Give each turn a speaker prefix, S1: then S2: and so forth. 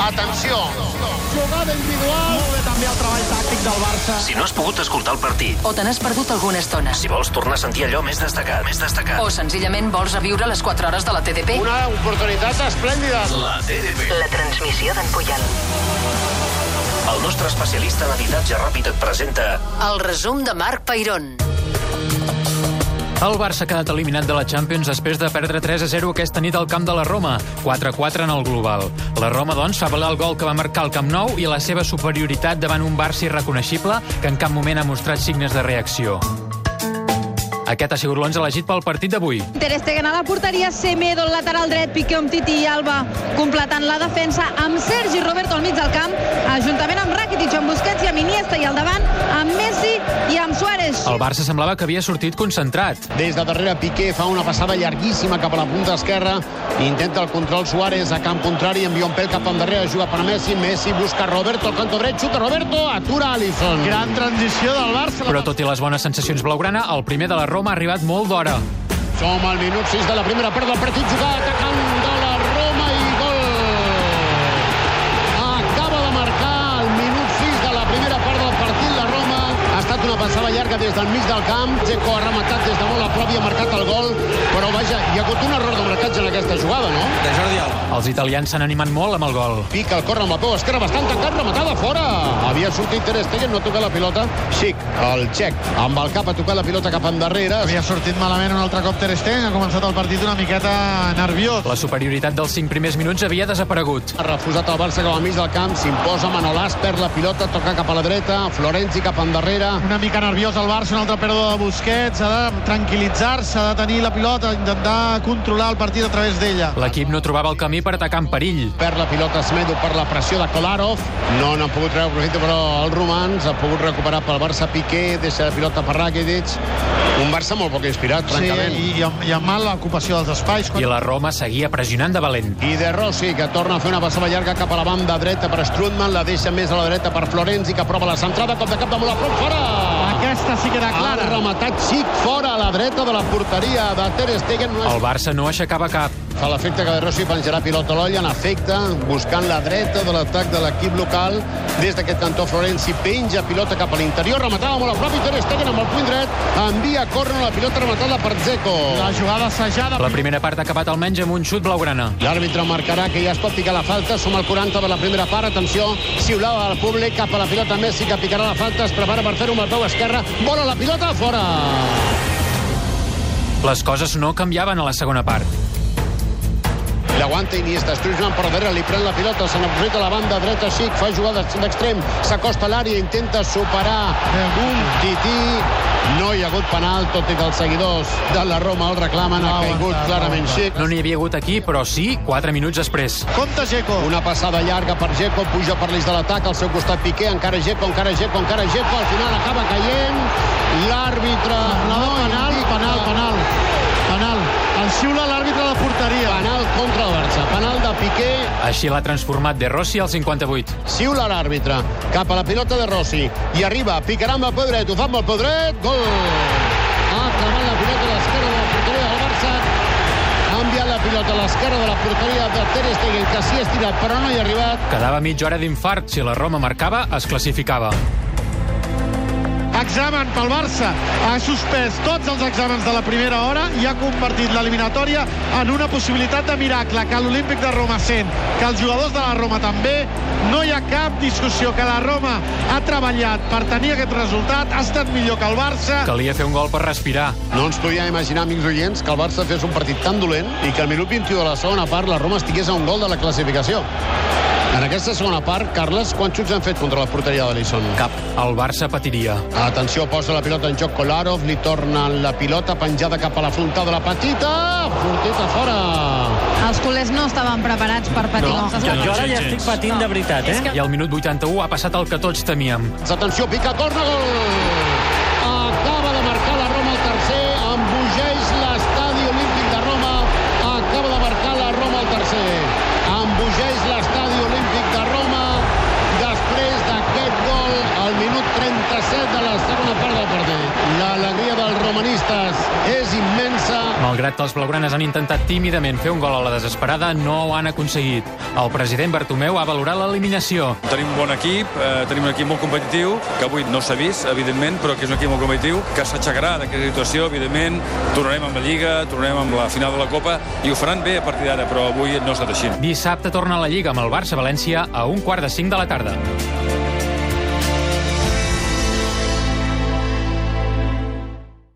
S1: Atenció!
S2: Jugada individual. Molt bé també el treball tàctic del Barça.
S3: Si no has pogut escoltar el partit,
S4: o te n'has perdut alguna estona,
S3: si vols tornar a sentir allò més destacat, més destacat,
S4: o senzillament vols reviure les 4 hores de la TDP,
S1: Una oportunitat esplèndida.
S3: la TDP.
S4: la transmissió d'en Puyol.
S3: El nostre especialista en editatge ràpid et presenta
S4: El resum de Marc Peirón.
S5: El Barça ha quedat eliminat de la Champions després de perdre 3-0 aquesta nit al camp de la Roma, 4-4 en el global. La Roma, doncs, fa valer el gol que va marcar el Camp Nou i la seva superioritat davant un Barça irreconeixible que en cap moment ha mostrat signes de reacció. Aquest ha sigut l'11 elegit pel partit d'avui.
S6: Ter Stegen a la porteria, Semedo, el lateral dret, Piqué amb Titi i Alba completant la defensa amb Sergi Roberto al mig del camp, eh, juntament amb Rakitic, amb Busquets i amb Iniesta i al davant amb Messi i amb Suárez.
S5: El Barça semblava que havia sortit concentrat.
S1: Des de darrere Piqué fa una passada llarguíssima cap a la punta esquerra. Intenta el control Suárez a camp contrari, envia un pèl cap endarrere, juga per Messi, Messi busca Roberto, al canto dret, xuta Roberto, atura Alisson.
S2: Gran transició del Barça.
S5: Però tot i les bones sensacions blaugrana, el primer de la Roma ha arribat molt d'hora.
S1: Som al minut 6 de la primera part del partit jugat atacant de la Roma i gol. Acaba de marcar al minut 6 de la primera part del partit la Roma. Ha estat una passada llarga des del mig del camp. Checo ha rematat des de molt a prop i ha marcat el gol. Però vaja, hi ha hagut un error de marcatge en aquesta jugada, no?
S7: de Jordi Alba.
S5: Els italians s'han animat molt amb el gol.
S1: Pica el corre amb la peu esquerra, bastant tancat, rematada fora. Havia sortit Ter Stegen, no ha tocat la pilota. Xic, el xec, amb el cap ha tocat la pilota cap endarrere.
S2: Havia sortit malament un altre cop Ter Stegen, ha començat el partit una miqueta nerviós.
S5: La superioritat dels 5 primers minuts havia desaparegut.
S1: Ha refusat el Barça cap al mig del camp, s'imposa Manolas, perd la pilota, toca cap a la dreta, Florenzi cap endarrere.
S2: Una mica nerviós el Barça, una altra pèrdua de Busquets, ha de tranquil·litzar-se, ha de tenir la pilota, intentar controlar el partit a través d'ella.
S5: L'equip no trobava el camí per atacar en perill.
S1: Perd la pilota Smedo per la pressió de Kolarov. No n'han pogut treure profit, però els romans ha pogut recuperar pel Barça Piqué, deixa la pilota per Rakitic. Un Barça molt poc inspirat,
S2: Sí,
S1: francament.
S2: i, i, amb, i amb mal ocupació dels espais.
S5: I
S2: Quan...
S5: la Roma seguia pressionant de valent.
S1: I de Rossi, que torna a fer una passada llarga cap a la banda dreta per Strutman, la deixa més a la dreta per Florenzi, que prova la centrada, cop de cap de molt a prop, fora!
S2: Aquesta sí que era
S1: Ha
S2: clara.
S1: rematat Xic fora a la dreta de la porteria de Ter Stegen. No és
S5: El Barça no aixecava cap.
S1: Fa l'efecte que De Rossi penjarà pilota a l'olla, en efecte, buscant la dreta de l'atac de l'equip local. Des d'aquest cantó, Florenzi penja pilota cap a l'interior, rematada molt a prop i Ter Stegen amb el puny dret, envia a córrer la pilota rematada per Dzeko.
S5: Ah.
S2: La jugada assajada.
S5: La primera part ha acabat almenys amb un xut blaugrana.
S1: L'àrbitre marcarà que ja es pot picar la falta, som al 40 de la primera part, atenció, xiulada del públic cap a la pilota Messi que picarà la falta, es prepara per fer-ho amb el peu esquerre, vola la pilota fora!
S5: Les coses no canviaven a la segona part.
S1: L'aguanta Iniesta, Struzman per darrere, li pren la pilota, se n'aprofita la banda dreta, Xic, fa jugada d'extrem, s'acosta a l'àrea, intenta superar un tití, no hi ha hagut penal, tot i que els seguidors de la Roma el reclamen, ha caigut clarament Xic.
S5: No n'hi havia hagut aquí, però sí 4 minuts després.
S2: Compte, Jeco.
S1: Una passada llarga per Geko, puja per l'eix de l'atac, al seu costat Piqué, encara Geko, encara Geko, encara Geko, al final acaba caient, l'àrbitre no
S2: Penal,
S1: indica
S2: penal, penal. Penal. El xiula l'àrbitre de porteria.
S1: penal contra el Barça, penal de Piqué,
S5: Així l'ha transformat De Rossi al 58.
S1: Siula l'àrbitre, cap a la pilota de Rossi, i arriba, picarà amb el peu dret, ho fa amb el peu dret, gol! Ha clavat la pilota a l'esquerra de la porteria del Barça, ha enviat la pilota a l'esquerra de la porteria de Ter Stegen, que s'hi ha estirat però no hi ha arribat.
S5: Quedava mitja hora d'infart. Si la Roma marcava, es classificava.
S2: Examen pel Barça. Ha suspès tots els exàmens de la primera hora i ha convertit l'eliminatòria en una possibilitat de miracle que l'Olímpic de Roma sent, que els jugadors de la Roma també. No hi ha cap discussió que la Roma ha treballat per tenir aquest resultat, ha estat millor que el Barça.
S5: Calia fer un gol per respirar.
S1: No ens podíem imaginar, amics oients, que el Barça fes un partit tan dolent i que al minut 21 de la segona part la Roma estigués a un gol de la classificació. En aquesta segona part, Carles, quants xuts han fet contra la porteria de l'Elisson?
S5: Cap. El Barça patiria.
S1: Atenció, posa la pilota en joc Kolarov, li torna la pilota penjada cap a la frontal de la petita, forteta fora.
S6: Els culers no estaven preparats per patir
S1: No,
S6: com s'ha
S8: Jo, jo ara ja
S5: gens.
S8: estic patint de veritat, eh?
S5: I al minut 81 ha passat el que tots temíem.
S1: Atenció, pica, corna, gol! Acaba de marcar la Roma el tercer, embogeix l'estadi olímpic de Roma, acaba de marcar la Roma el tercer. Embogeix l'estadi olímpic de Roma després d'aquest gol al minut 37 de la segona part del partit. L'alegria dels romanistes és immensa.
S5: Malgrat que els blaugranes han intentat tímidament fer un gol a la desesperada, no ho han aconseguit. El president Bartomeu ha valorat l'eliminació.
S7: Tenim un bon equip, eh, tenim un equip molt competitiu, que avui no s'ha vist, evidentment, però que és un equip molt competitiu, que s'aixecarà d'aquesta situació, evidentment, tornarem amb la Lliga, tornarem amb la final de la Copa, i ho faran bé a partir d'ara, però avui no ha estat així.
S5: Dissabte torna a la Lliga amb el Barça-València a un quart de cinc de la tarda.